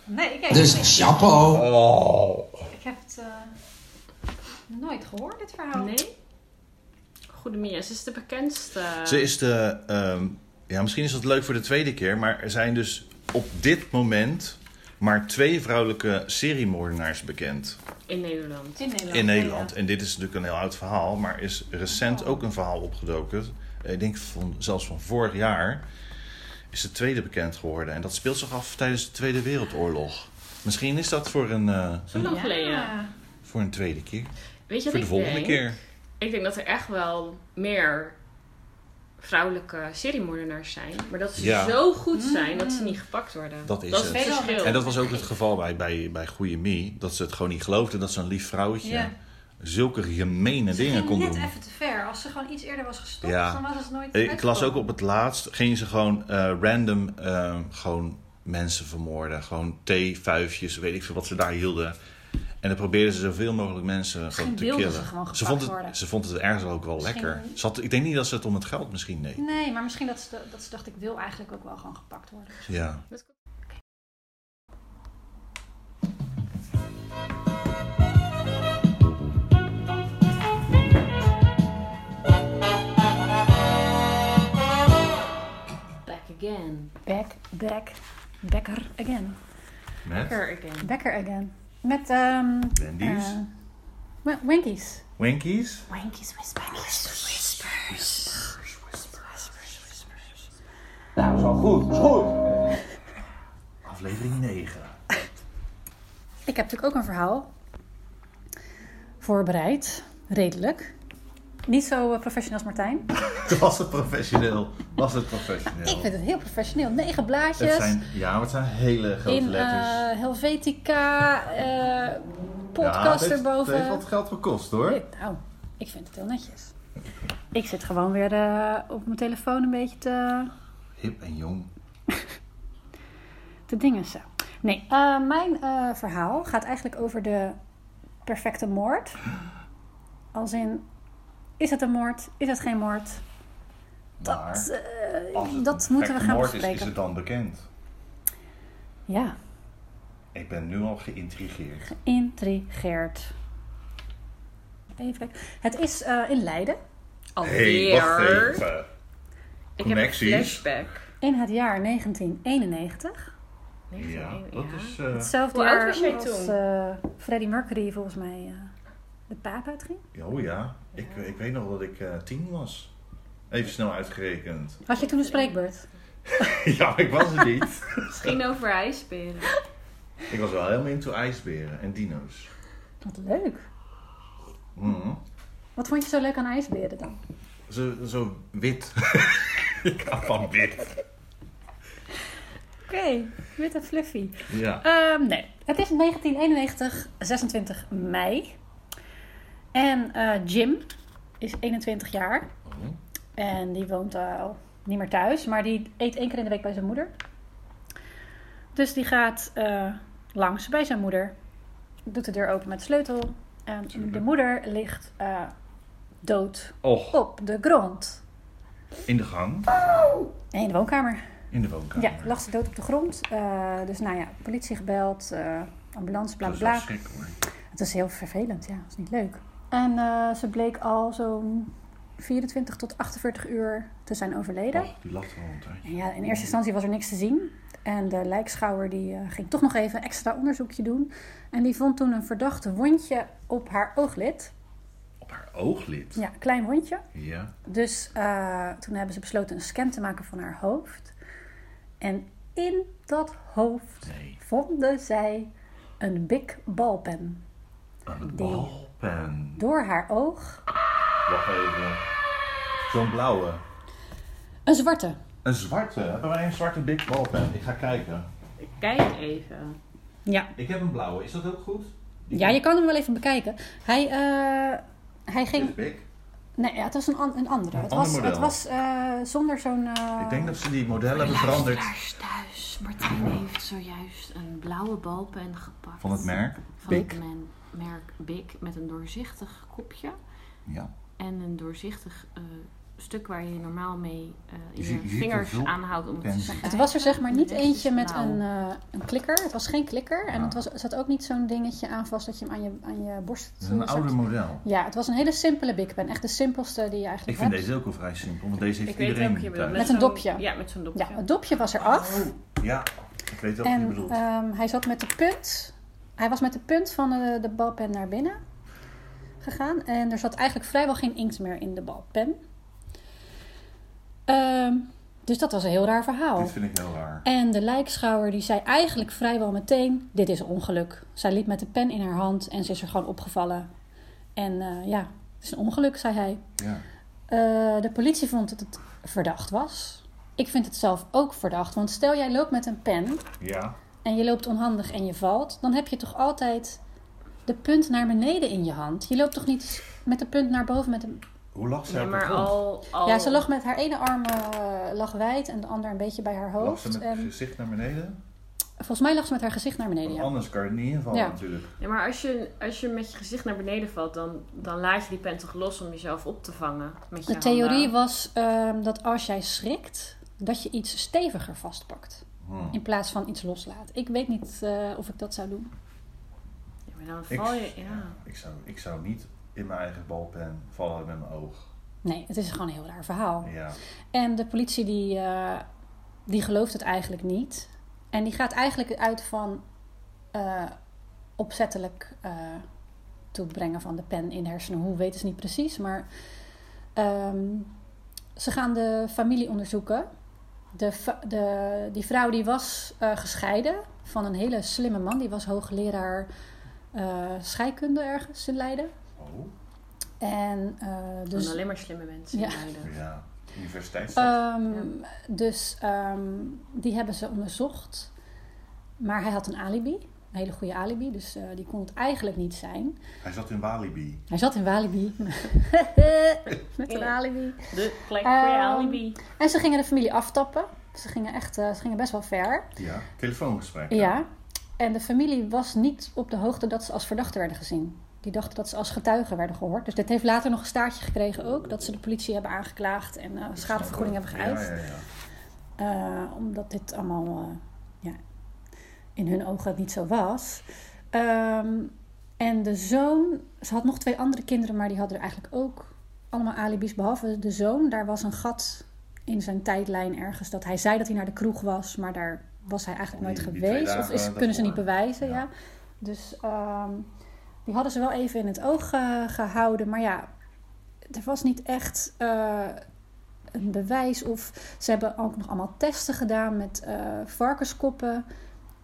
Nee, ik, ik, Dus chapeau. Oh. ik heb het eh, nooit gehoord, dit verhaal. Nee? Goede Mia, ze is de bekendste. Ze is de. ehm, ja, misschien is dat leuk voor de tweede keer. Maar er zijn dus op dit moment maar twee vrouwelijke seriemoordenaars bekend In Nederland. In Nederland. in ja, Nederland. ja. En dit is natuurlijk een heel oud verhaal. Maar is recent ook een verhaal opgedoken. Eh, Ik denk van, zelfs van vorig jaar. Is de tweede bekend geworden. En dat speelt zich af tijdens de Tweede Wereldoorlog. Misschien is dat voor een, eh, Zo lang Ja. geleden. voor een tweede keer. Weet je Voor wat de ik volgende denk? keer. Ik denk dat er echt wel meer vrouwelijke seriemoordenaars zijn. Maar dat ze Ja. zo goed zijn dat ze niet gepakt worden. Dat is het. verschil. En dat was ook het geval bij, bij, bij Goeie Mie. Dat ze het gewoon niet geloofde dat ze een lief vrouwtje Ja. zulke gemene Ze dingen ging kon net doen. even te ver. Als ze gewoon iets eerder was gestopt, Ja. dan was het nooit Ik las ook uitgekomen. op het laatst, gingen ze gewoon eh, random eh, gewoon mensen vermoorden. Gewoon theefuifjes, weet ik veel wat ze daar hielden. En dan probeerden ze zoveel mogelijk mensen gewoon te wilden killen. ze gewoon gepakt vond het, worden. ze vond het ergens ook wel Misschien- lekker. Ze had- ik denk niet dat ze het om het geld misschien deed. Nee, maar misschien dat ze, dat ze dacht, ik wil eigenlijk ook wel gewoon gepakt worden. Ja. Back again. Back, back, backer again. Met Backer again. Backer again. Met, ehm... Wendy's. eh, Wen- Wendy's. Winkies. Wendy's Whispers. Nou, is al goed, is goed. Aflevering 9. Ik heb natuurlijk ook een verhaal voorbereid. Redelijk. Niet zo eh, professioneel als Martijn. Was het professioneel? Was het professioneel? Ik vind het heel professioneel. Negen Het blaadjes. zijn, ja, maar het zijn hele grote in letters. eh, Helvetica. eh, Ja, het podcast heeft- erboven. Het heeft wat geld gekost hoor. Dit, nou, ik vind het heel netjes. Ik zit gewoon weer eh, op mijn telefoon een beetje te, Hip en jong. te dingen. Zo. Nee, eh, mijn eh, verhaal gaat eigenlijk over de perfecte moord. Als in, is het een moord? Is het geen moord? maar Dat, eh, als het dat een moeten we gekke gaan moord bespreken. Is, is het dan bekend? Ja, Ik ben nu al geïntrigeerd. intrigeert. Even kijken. Het is eh, in Leiden Alweer. ik heb een Connecties. flashback. in het jaar 1991. Ja, dat is... eh, Hetzelfde Hoe oud jaar was jij als toen? eh, Freddie Mercury volgens mij eh, de paap uitging. oh ja, ik, ik weet nog dat ik eh, tien was. Even snel uitgerekend. Had je toen een spreekbeurt? ja, maar ik was het niet. Misschien over ijsberen. ik was wel helemaal into ijsberen en dino's. Wat leuk. Mhm. Wat vond je zo leuk aan ijsberen dan? Zo, zo wit. ik hou van wit. Oké, wit en fluffy. Ja. Ehm, nee, het is 1991, 26 mei. En eh, Jim is 21 jaar. En die woont eh, niet meer thuis, maar die eet één keer in de week bij zijn moeder. Dus die gaat eh, langs bij zijn moeder, doet de deur open met sleutel. En de moeder ligt eh, dood Och, op de grond. in de gang. In de woonkamer. In de woonkamer. Ja, lag ze dood op de grond. Eh, dus nou ja, politie gebeld, eh, ambulance, bla Dat bla is wel bla. schrik hoor. Het is heel vervelend, ja. Het is niet leuk. En eh, ze bleek al zo'n 24 tot 48 uur te zijn overleden. Och, Oh, die lag er al een tijdje. En ja, in eerste instantie was er niks te zien. En de lijkschouwer die, eh, ging toch nog even extra onderzoekje doen. En die vond toen een verdachte wondje op haar ooglid. Op haar ooglid. Ja, klein wondje. Ja. Dus eh, toen hebben ze besloten een scan te maken van haar hoofd. En in dat hoofd Nee. vonden zij een big balpen. Een Die- balpen. Door haar oog Wacht even. Zo'n blauwe. een zwarte. Een zwarte. Hebben wij een zwarte big balpen? Ik ga kijken. Ik kijk even. Ja. Ik heb een blauwe. Is dat ook goed? ja, je kan hem wel even bekijken. Hij, eh, Dit hij is ging... big. Nee, ja, het was een, an- een andere. het ander was, model. het was eh, zonder zo'n... eh, Ik denk dat ze die modellen hebben veranderd. Thuis, thuis. Martijn heeft zojuist een blauwe balpen gepakt. Van het merk? Van het Bic. men- merk Bic met een doorzichtig kopje. Ja. En een doorzichtig eh, stuk waar je normaal mee eh, Je je, ziet- je ziet vingers er veel aan houdt om het te pensen. schrijven. Het was er zeg maar niet De rest is eentje met blauw. een, eh, een klikker. Het was geen klikker. En Ja. het was, er zat ook niet zo'n dingetje aan vast dat je hem aan je, aan je borst... Dat is een zakt. ouder model. Ja, het was een hele simpele Big Pen. Echt de simpelste die je Ik eigenlijk vind hebt. deze ook al vrij simpel, want deze heeft Ik weet iedereen welke je bedoelt. thuis. Met een zo'n- dopje. Ja, met zo'n dopje. Ja, het dopje was eraf. Oh. Ja, ik weet welke je en bedoelt. eh, ehm, hij zat met de punt. Hij was met de punt van de, de balpen naar binnen gegaan. En er zat eigenlijk vrijwel geen inkt meer in de balpen. Ehm, dus dat was een heel raar verhaal. Dit vind ik heel raar. En de lijkschouwer die zei eigenlijk vrijwel meteen: Dit is een ongeluk. Zij liep met de pen in haar hand en ze is er gewoon opgevallen. En eh, ja, het is een ongeluk, zei hij. Ja. Eh, de politie vond dat het verdacht was. Ik vind het zelf ook verdacht. Want stel jij loopt met een pen Ja. en je loopt onhandig en je valt, dan heb je toch altijd de punt naar beneden in je hand. Je loopt toch niet met de punt naar boven met een. Hoe lag ze Ja, op de maar grond? al, al... Ja, Oh. ze lag met haar ene arm eh, lag wijd en de ander een beetje bij haar Lag hoofd. ze met het en gezicht naar beneden? Volgens mij lag ze met haar gezicht naar beneden. Ja. Anders kan je er niet invallen Ja. natuurlijk. Ja, maar als je, als je met je gezicht naar beneden valt, dan, dan laat je die pen toch los om jezelf op te vangen. Met je De theorie handen. was ehm, dat als jij schrikt, dat je iets steviger vastpakt. Hmm. In plaats van iets loslaat. Ik weet niet eh, of ik dat zou doen. Ja, maar dan Ik, val je. Ja. ja, ik, zou, ik zou niet in mijn eigen balpen vallen met mijn oog. Nee, het is gewoon een heel raar verhaal. Ja. En de politie die, eh, die gelooft het eigenlijk niet. En die gaat eigenlijk uit van eh, opzettelijk eh, toebrengen van de pen in hersenen. Hoe weten ze niet precies, maar ehm, ze gaan de familie onderzoeken. De, va- de, die vrouw die was eh, gescheiden van een hele slimme man. Die was hoogleraar eh, scheikunde ergens in Leiden. Oh, En eh, Dus... dus alleen maar slimme mensen Ja. in Leiden. ja. Universiteitsstad. Ehm, Dus ehm, die hebben ze onderzocht. Maar hij had een alibi. Een hele goede alibi. Dus eh, die kon het eigenlijk niet zijn. Hij zat in Walibi. Hij zat in Walibi. Met een alibi. De plek voor je Ehm, alibi. En ze gingen de familie aftappen. Ze gingen, echt, eh, ze gingen best wel ver. Ja. Telefoongesprek. Ja. En de familie was niet op de hoogte dat ze als verdachte werden gezien. Die dachten dat ze als getuigen werden gehoord. Dus dit heeft later nog een staartje gekregen ook. Dat ze de politie hebben aangeklaagd en eh, schadevergoeding hebben geëist. Ja, ja, ja. Eh, omdat dit allemaal eh, ja, in hun ogen het niet zo was. Ehm, en de zoon, ze had nog twee andere kinderen, maar die hadden er eigenlijk ook allemaal alibis. Behalve de zoon, daar was een gat in zijn tijdlijn ergens. Dat hij zei dat hij naar de kroeg was, maar daar was hij eigenlijk nooit Die- die twee geweest. Of dagen is, kunnen ze niet daarvoor. bewijzen, ja. Ja. Dus ehm, die hadden ze wel even in het oog eh, gehouden. Maar ja, er was niet echt eh, een bewijs. Of ze hebben ook nog allemaal testen gedaan met eh, varkenskoppen.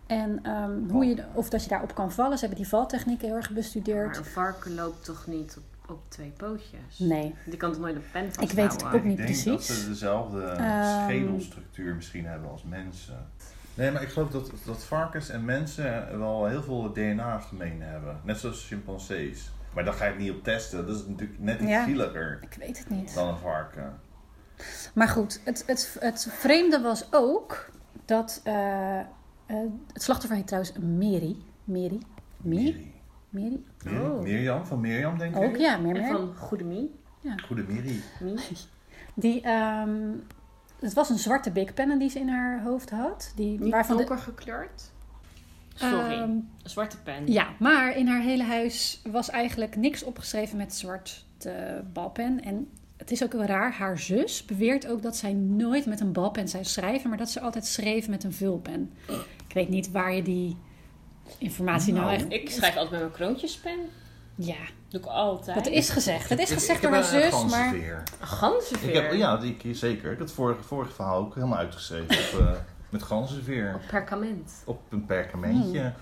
En ehm, Oh. hoe je, of dat je daarop kan vallen. Ze hebben die valtechnieken heel erg Maar bestudeerd. een varken loopt toch niet op, op twee pootjes? Nee. Die kan toch nooit een pen het vasthouden? Ik ook niet denk dat precies. ze dezelfde Ehm. schedelstructuur misschien hebben als mensen. Nee, maar ik geloof dat, dat varkens en mensen wel heel veel DNA gemeen hebben. Net zoals chimpansees. Maar daar ga je het niet op testen. Dat is natuurlijk net iets Ja. zieliger Ik weet het niet. dan een varken. Maar goed, het, het, het vreemde was ook dat. eh, eh, het slachtoffer heet trouwens Meri. Meri. Meri? Miri. Meri? Miri- Oh. Mirjam, van Mirjam denk Ook ik. ja, meer, En meer. van Goede Mie. Goede Miri. Mie. Die, ehm, het was een zwarte Big Pen die ze in haar hoofd had. Die, Niet waarvan de- donker gekleurd? Sorry, Ehm, een zwarte pen. ja, maar in haar hele huis was eigenlijk niks opgeschreven met zwart eh, balpen. En het is ook wel raar, haar zus beweert ook dat zij nooit met een balpen zou schrijven, maar dat ze altijd schreef met een vulpen. Ik weet niet waar je die informatie nou, echt... Ik schrijf altijd met mijn kroontjespen. Ja, Doe ik altijd. dat is gezegd. Dat is Ik- gezegd ik door heb haar een zus, maar... ganzenveer. Een ganzenveer. Ik heb, ja, die, ik- zeker. Ik had het vorige, vorige verhaal ook helemaal uitgeschreven. Op, eh, met ganzenveer. Perkament. Op een perkamentje. Hmm.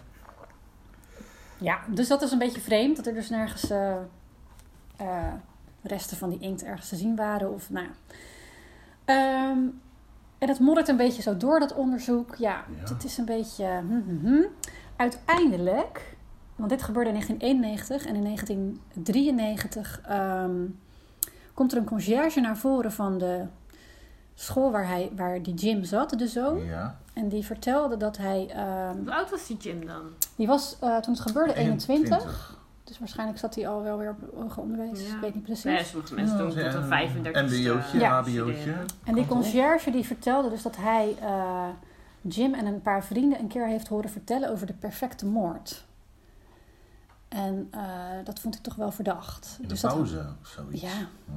Ja, dus dat is een beetje vreemd. Dat er dus nergens eh, eh, resten van die inkt ergens te zien waren. Of, nou ja. Ehm, en dat moddert een beetje zo door, dat onderzoek. Ja, Ja. het is een beetje... hm, hm, hm. Uiteindelijk, want dit gebeurde in 1991 en in 1993... ehm, komt er een conciërge naar voren van de school waar, hij, waar die Jim zat, de zoon. Ja. En die vertelde dat hij... ehm, Hoe oud was die Jim dan? die was eh, toen het gebeurde 21. 21. Dus waarschijnlijk zat hij al wel weer op hoger onderwijs. Ja. Ik weet niet precies. Nee, sommige mensen doen tot een 35 MBO'tje, Ja. HBO'tje. en die conciërge die vertelde dus dat hij eh, Jim en een paar vrienden een keer heeft horen vertellen over de perfecte moord. En eh, dat vond ik toch wel verdacht. In de Dus dat- pauze of zoiets. Ja,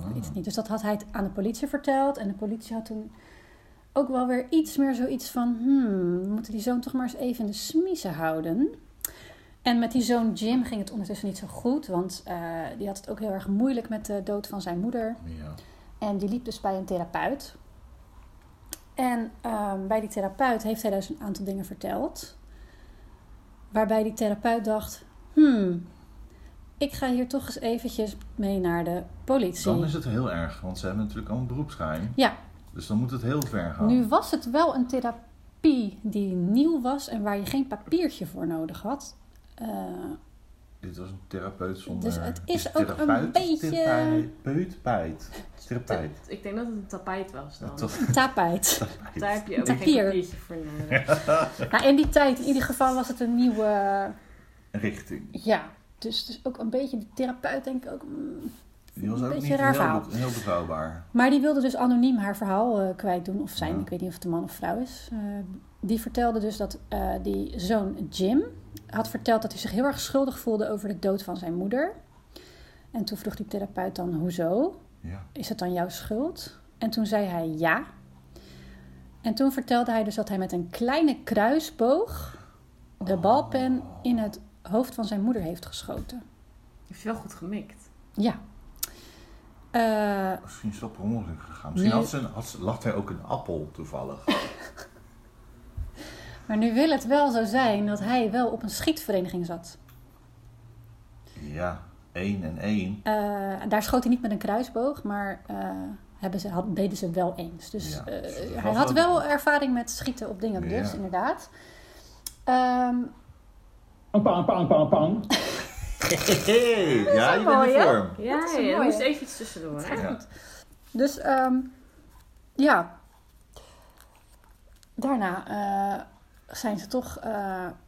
Ah. ik weet het niet. Dus dat had hij het aan de politie verteld. En de politie had toen ook wel weer iets meer zoiets van... Hmm, we moeten die zoon toch maar eens even in de smiezen houden. En met die zoon Jim ging het ondertussen niet zo goed. Want eh, die had het ook heel erg moeilijk met de dood van zijn moeder. Ja. En die liep dus bij een therapeut. En ehm, bij die therapeut heeft hij dus een aantal dingen verteld. Waarbij die therapeut dacht: hmm, ik ga hier toch eens eventjes mee naar de politie. Dan is het heel erg, want ze hebben natuurlijk al een beroepsgeheim. Ja, Dus dan moet het heel ver gaan. nu was het wel een therapie die nieuw was en waar je geen papiertje voor nodig had. Eh, Dit was een therapeut zonder... Dus het is Dus ook een therapeut, beetje- Therapeut, bijt. Therapeut. Ik denk dat het een tapijt was dan. Dat was- Tapijt. Daar heb je ook geen Tapier. papiertje voor nodig. Nou, in die tijd, in ieder geval, was het een nieuwe... Richting. ja, dus, dus ook een beetje de therapeut, denk ik ook. mm. Die was ook Beetje niet raar heel, verhaal. be- heel betrouwbaar. Maar die wilde dus anoniem haar verhaal eh, kwijt doen, of zijn, Ja. ik weet niet of het een man of vrouw is. Eh, die vertelde dus dat eh, die zoon Jim had verteld dat hij zich heel erg schuldig voelde over de dood van zijn moeder. En toen vroeg die therapeut dan, hoezo? Ja. is het dan jouw schuld? En toen zei hij ja. En toen vertelde hij dus dat hij met een kleine kruisboog de Oh. balpen in het hoofd van zijn moeder heeft geschoten. Heeft je wel goed gemikt. Ja. Eh, Misschien is dat per ongeluk gegaan. Misschien Nee. had ze, een- had ze, lag er ook een appel toevallig. maar nu wil het wel zo zijn dat hij wel op een schietvereniging zat. ja, één en één. Eh, daar schoot hij niet met een kruisboog, maar eh, hebben ze, had, deden ze wel eens. Dus Ja, eh, dus dat hij was had wel- wel ervaring met schieten op dingen, Ja. dus inderdaad. Ehm, Een paan, paan, paan, paan. Hey, ja, je bent mooi, in hè? vorm. Ja, is dat een ja, er mooie. moest even iets tussendoor. Hè? Ja. Dus ehm, ja, daarna eh, zijn ze toch, eh,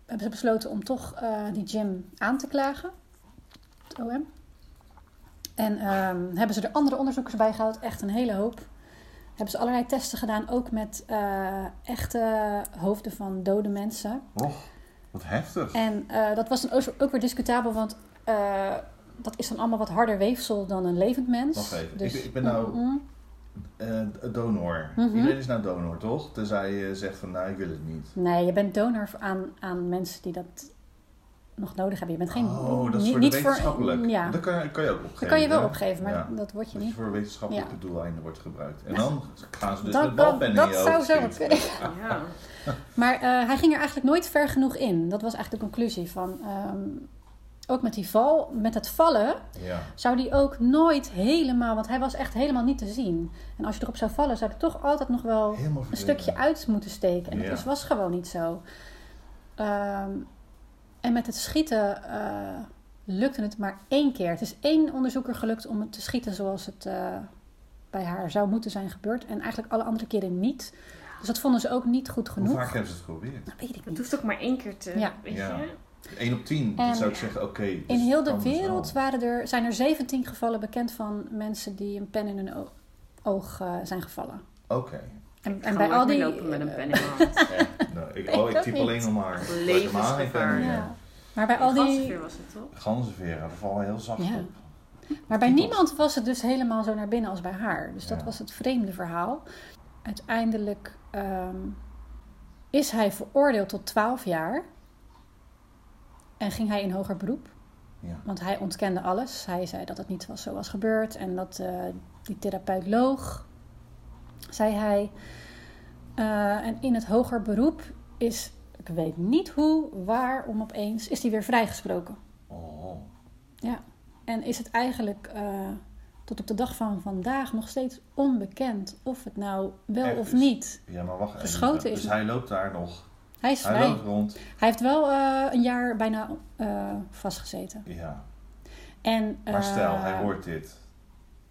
hebben ze besloten om toch eh, die Jim aan te klagen, het OM. En ehm, hebben ze er andere onderzoekers bij gehaald, echt een hele hoop. Hebben ze allerlei testen gedaan, ook met eh, echte hoofden van dode mensen. Och, wat heftig. En eh, dat was dan ook- ook weer discutabel, want eh, dat is dan allemaal wat harder weefsel dan een levend mens. Wacht even, Dus- ik, ik ben nou Mhm. eh, donor. Mhm. Iedereen is nou donor, toch? Tenzij je zegt van, nou, ik wil het niet. Nee, je bent donor aan, aan mensen die dat nog nodig hebben. Je bent geen. oh, dat is niet- voor de niet wetenschappelijk. ja, Dat dat, kan, je- kan je ook opgeven. kan je wel hè? opgeven, maar Ja. dat word Dat je je niet. voor wetenschappelijke Ja. doeleinden wordt gebruikt. En dan gaan ze dus dat met balpennen dat in je zou hoofd zo schieten. wat kunnen. Ja. Maar eh, hij ging er eigenlijk nooit ver genoeg in. Dat was eigenlijk de conclusie van. ehm, ook met die val, met het vallen, Ja. zou die ook nooit helemaal, want hij was echt helemaal niet te zien. En als je erop zou vallen, zou er toch altijd nog wel Helemaal een verdwenen. stukje uit moeten steken. En Ja. dat is, was gewoon niet zo. Ehm, en met het schieten eh, lukte het maar één keer. Het is één onderzoeker gelukt om het te schieten zoals het eh, bij haar zou moeten zijn gebeurd. En eigenlijk alle andere keren niet. Dus dat vonden ze ook niet goed Hoe genoeg. vaak hebben ze het geprobeerd? Dat weet ik Het niet. hoeft ook maar één keer te, Ja. weet Ja. je. 1 op 10, dan En- zou ik zeggen, oké. dus In heel de kan dus wereld wel. waren er, zijn er 17 gevallen bekend van mensen die een pen in hun o- oog eh, zijn gevallen. Oké. En, En en bij al die. lopen met een pen in mijn hand. Eh, nou, ik, oh, ik ook typ niet. alleen nog maar. Levensgevaar. Ja. eh, Ja. Maar bij al Een die. gastheer was het eh, toch? Ganzenveren, daar vallen heel zacht Ja. op. Maar bij Kietels. niemand was het dus helemaal zo naar binnen als bij haar. Dus dat Ja. was het vreemde verhaal. Uiteindelijk ehm, is hij veroordeeld tot 12 jaar. En ging hij in hoger beroep. Ja. Want hij ontkende alles. Hij zei dat het niet was, zo was gebeurd. En dat eh, die therapeut loog, zei hij. Eh, en in het hoger beroep is, ik weet niet hoe, waarom opeens, is hij weer vrijgesproken. Oh. Ja, en is het eigenlijk eh, tot op de dag van vandaag nog steeds onbekend of het nou wel Echt of is. niet. Ja, maar wacht even. Geschoten is- Dus hij loopt daar nog. Hij is Hij vrij. loopt rond. Hij heeft wel eh, een jaar bijna eh, vastgezeten. Ja. En, Maar stel, eh, hij hoort dit.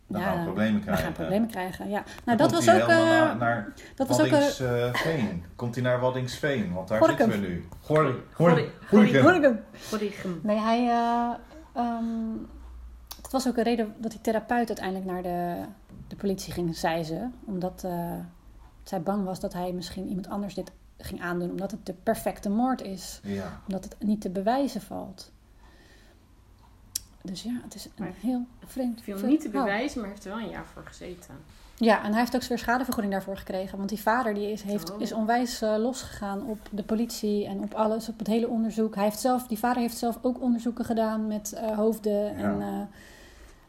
Dan ja, gaan we problemen We krijgen. gaan problemen krijgen, ja. Dan Nou, dat komt was, hij ook, helemaal eh, naar, naar dat was ook... eh, Waddingsveen. Komt hij naar Waddingsveen? Want daar Gorinchem. zitten we nu. Gor- Gor- Gorinchem. hoor ik hem? Gorinchem. Nee, hij... eh, ehm, het was ook een reden dat die therapeut uiteindelijk naar de, de politie ging, zei ze. Omdat eh, zij bang was dat hij misschien iemand anders dit ging aandoen. Omdat het de perfecte moord is. Ja. Omdat het niet te bewijzen valt. Dus ja, het is een Maar heel vreemd Het viel verhaal. niet te bewijzen, maar heeft er wel een jaar voor gezeten. Ja, en hij heeft ook weer schadevergoeding daarvoor gekregen. Want die vader die is, heeft, Oh. is onwijs eh, losgegaan op de politie en op alles, op het hele onderzoek. Hij heeft zelf, die vader heeft zelf ook onderzoeken gedaan met eh, hoofden. En eh,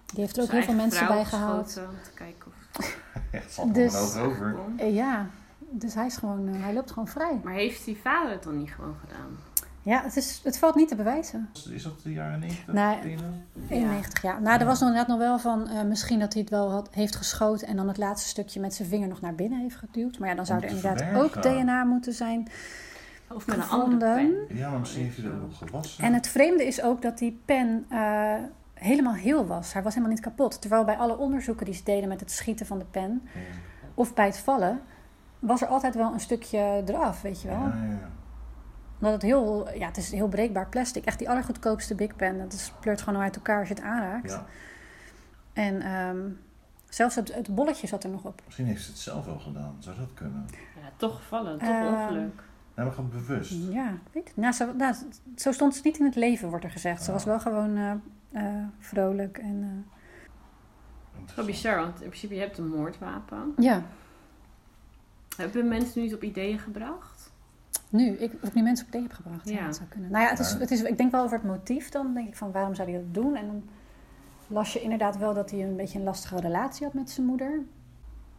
die heeft er ook Zijn heel veel eigen mensen vrouw bij gehaald. geschoten, Om te kijken of het Echt, valt Dus- dus... over. kon. Eh, ja, dus hij, is gewoon, eh, hij loopt gewoon vrij. Maar heeft die vader het dan niet gewoon gedaan? Ja, het, is, het valt niet te bewijzen. Is dat de jaren 90? Nee. 10e? 91 jaar. Nou, er was nog inderdaad nog wel van eh, misschien dat hij het wel had, heeft geschoten en dan het laatste stukje met zijn vinger nog naar binnen heeft geduwd. Maar ja, dan zou Om er te inderdaad ook verbergen. DNA moeten zijn. Of met een andere gevonden. pen. Ja, maar misschien heeft hij er ook op gewassen. En het vreemde is ook dat die pen eh, helemaal heel was. Hij was helemaal niet kapot. Terwijl bij alle onderzoeken die ze deden met het schieten van de pen of bij het vallen, was er altijd wel een stukje eraf, weet je wel. Ja, ja, ja. Omdat het heel, ja, het is heel breekbaar plastic. Echt die allergoedkoopste Big Pen. Dat is- pleurt gewoon uit elkaar als je het aanraakt. Ja, En ehm, zelfs het, het bolletje zat er nog op. misschien heeft ze het zelf wel gedaan. Zou dat kunnen? Ja, toch gevallen, toch Ehm, ongeluk. Nee, maar gewoon bewust. Ja, ik weet het. Nou, zo, nou, zo stond ze niet in het leven, wordt er gezegd. Ze was wel gewoon eh, eh, vrolijk en... eh, Wel bizar, want in principe je hebt een moordwapen. ja, Hebben mensen niet op ideeën gebracht? Nu, ik, of ik nu mensen op idee heb gebracht. Ja. Ja. dat zou kunnen. Nou ja, het is, Maar- het is, ik denk wel over het motief dan. denk ik van waarom zou hij dat doen? En dan las je inderdaad wel dat hij een beetje een lastige relatie had met zijn moeder.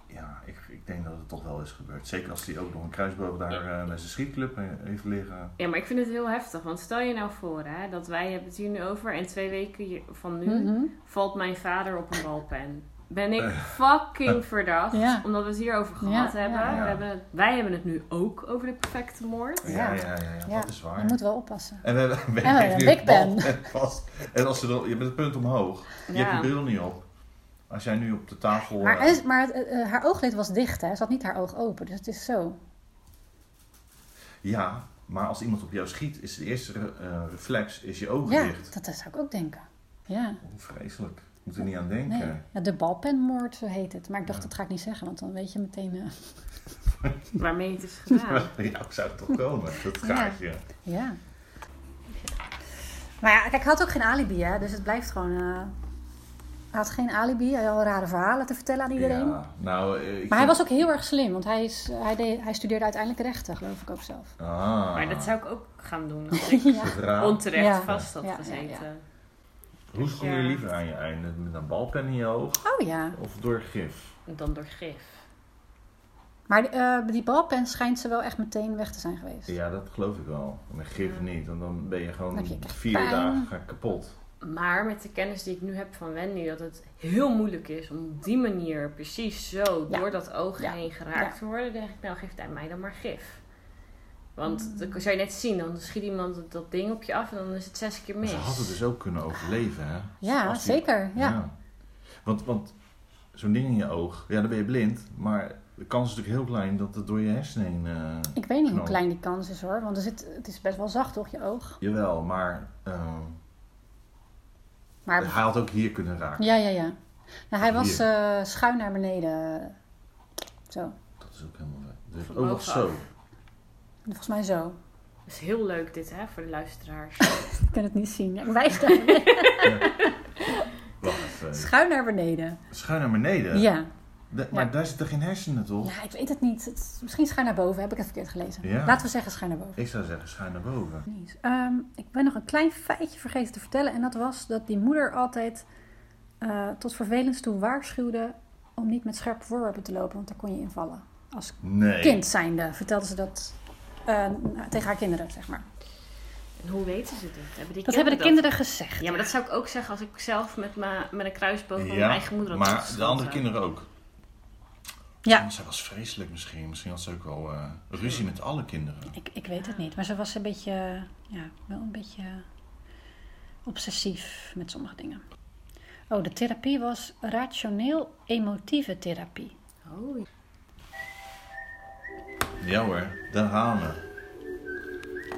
Ja, ik, ik denk dat het toch wel is gebeurd. Zeker als hij ook nog een kruisboog daar eh, bij zijn schietclub eh, heeft liggen. Ja, maar ik vind het heel heftig. Want stel je nou voor hè, dat wij hebben het hier nu over en twee weken je- van nu Mhm. valt mijn vader op een balpen. Ben ik Eh. fucking verdacht, Ja. omdat we het hier over Ja, gehad ja, hebben. ja. We hebben het, wij hebben het nu ook over de perfecte moord. Ja, ja, ja, ja, dat is Je waar. moet wel oppassen. En we hebben, we En we hebben een Big Pen. balpen vast. En als ze dan, je met het punt omhoog, je Ja. hebt je bril niet op. Als jij nu op de tafel... Maar, eh, en- maar het- eh, eh, haar ooglid was dicht, hè? Ze had niet haar oog open, dus het is zo. Ja, maar als iemand op jou schiet, is de eerste eh, reflex is je ogen Ja, dicht. dat, dat zou ik ook denken. Ja, Hoe vreselijk. Je moet er niet aan nee. denken. Ja, de balpenmoord, zo heet het. Maar ik dacht, dat ga ik niet zeggen, want dan weet je meteen... eh, Waarmee het is gedaan. Ja, ik zou het toch komen, dat kaartje. ja. Maar ja, kijk, hij had ook geen alibi, hè? Dus het blijft gewoon... eh, hij had geen alibi, hij had al rare verhalen te vertellen aan iedereen. Ja, nou, eh, ik Maar hij vind- was ook heel erg slim, want hij, is, hij, deed, hij studeerde uiteindelijk rechten, geloof ik ook zelf. Ah, Maar dat zou ik ook gaan doen als ik Ja. raar. onterecht Ja. vast had Ja, ja, gezeten. Hoe schoon je Ja. liever aan je einde? Met een balpen in je oog Oh ja. of door gif? Dan door gif. Maar eh, die balpen schijnt ze wel echt meteen weg te zijn geweest. Ja, dat geloof ik wel. Met gif niet, want dan ben je Dan gewoon heb je echt vier pijn. dagen kapot. Maar met de kennis die ik nu heb van Wendy, dat het heel moeilijk is om op die manier precies zo Ja. door dat oog Ja. heen geraakt Ja. te worden, denk ik, nou geeft hij mij dan maar gif. Want dan zou je net zien, dan schiet iemand dat- dat ding op je af en dan is het zes keer Maar mis. Ze had het dus ook kunnen overleven, hè? Ja, Als die- zeker. Ja. Want, want zo'n ding in je oog, ja, dan ben je blind, maar de kans is natuurlijk heel klein dat het door je hersenen heen. eh, Ik weet niet hoe Nou. klein die kans is hoor, want er zit, het is best wel zacht toch, je oog. Jawel, maar eh, Maar hij had ook hier kunnen raken. ja, ja, ja. Nou, hij was Hier. eh, schuin naar beneden. Zo. Dat is ook helemaal weg. Dus Van ook nog bovenaf. zo. Volgens mij zo. Dat is heel leuk dit hè, voor de luisteraars. Ik kan het niet zien. Ik wijs daar. Wacht even. Schuin naar beneden. Schuin naar beneden? Ja. Da- maar Ja. daar zitten geen hersenen, toch? Ja, ik weet het niet. Het is- misschien schuin naar boven. Heb ik het verkeerd gelezen? Ja. Laten we zeggen schuin naar boven. Ik zou zeggen, schuin naar boven. Niet. Ehm, ik ben nog een klein feitje vergeten te vertellen. En dat was dat die moeder altijd eh, tot vervelens toe waarschuwde om niet met scherpe voorwerpen te lopen. Want daar kon je invallen. Als Nee. kind zijnde vertelde ze dat eh, nou, tegen haar kinderen, zeg maar. En hoe weten ze dit? Hebben die Dat hebben de kinderen gezegd. Ja, maar dat zou ik ook zeggen als ik zelf met, ma- met een kruisboog van mijn Ja, eigen moeder had maar de afgeschoten. andere kinderen ook. Ja. Zij was vreselijk misschien. Misschien had ze ook wel eh, ruzie met alle kinderen. Ik, ik weet het niet. Maar ze was een beetje, ja, wel een beetje obsessief met sommige dingen. Oh, de therapie was rationeel-emotieve therapie. Oh, ja. Ja hoor, daar gaan we.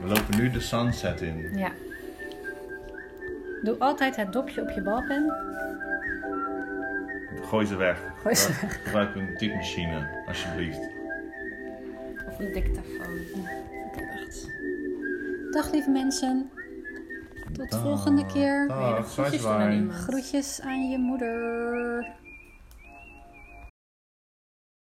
We lopen nu de sunset in. Ja. Doe altijd het dopje op je balpen. Gooi ze weg. Gooi ze Gebruik- Gebruik een typemachine, alsjeblieft. of een dictafoon. Oké, wacht. Dag lieve mensen. Tot volgende keer. Dag, groetjes doen aan Ah, zwaai. iemand. Groetjes aan je moeder.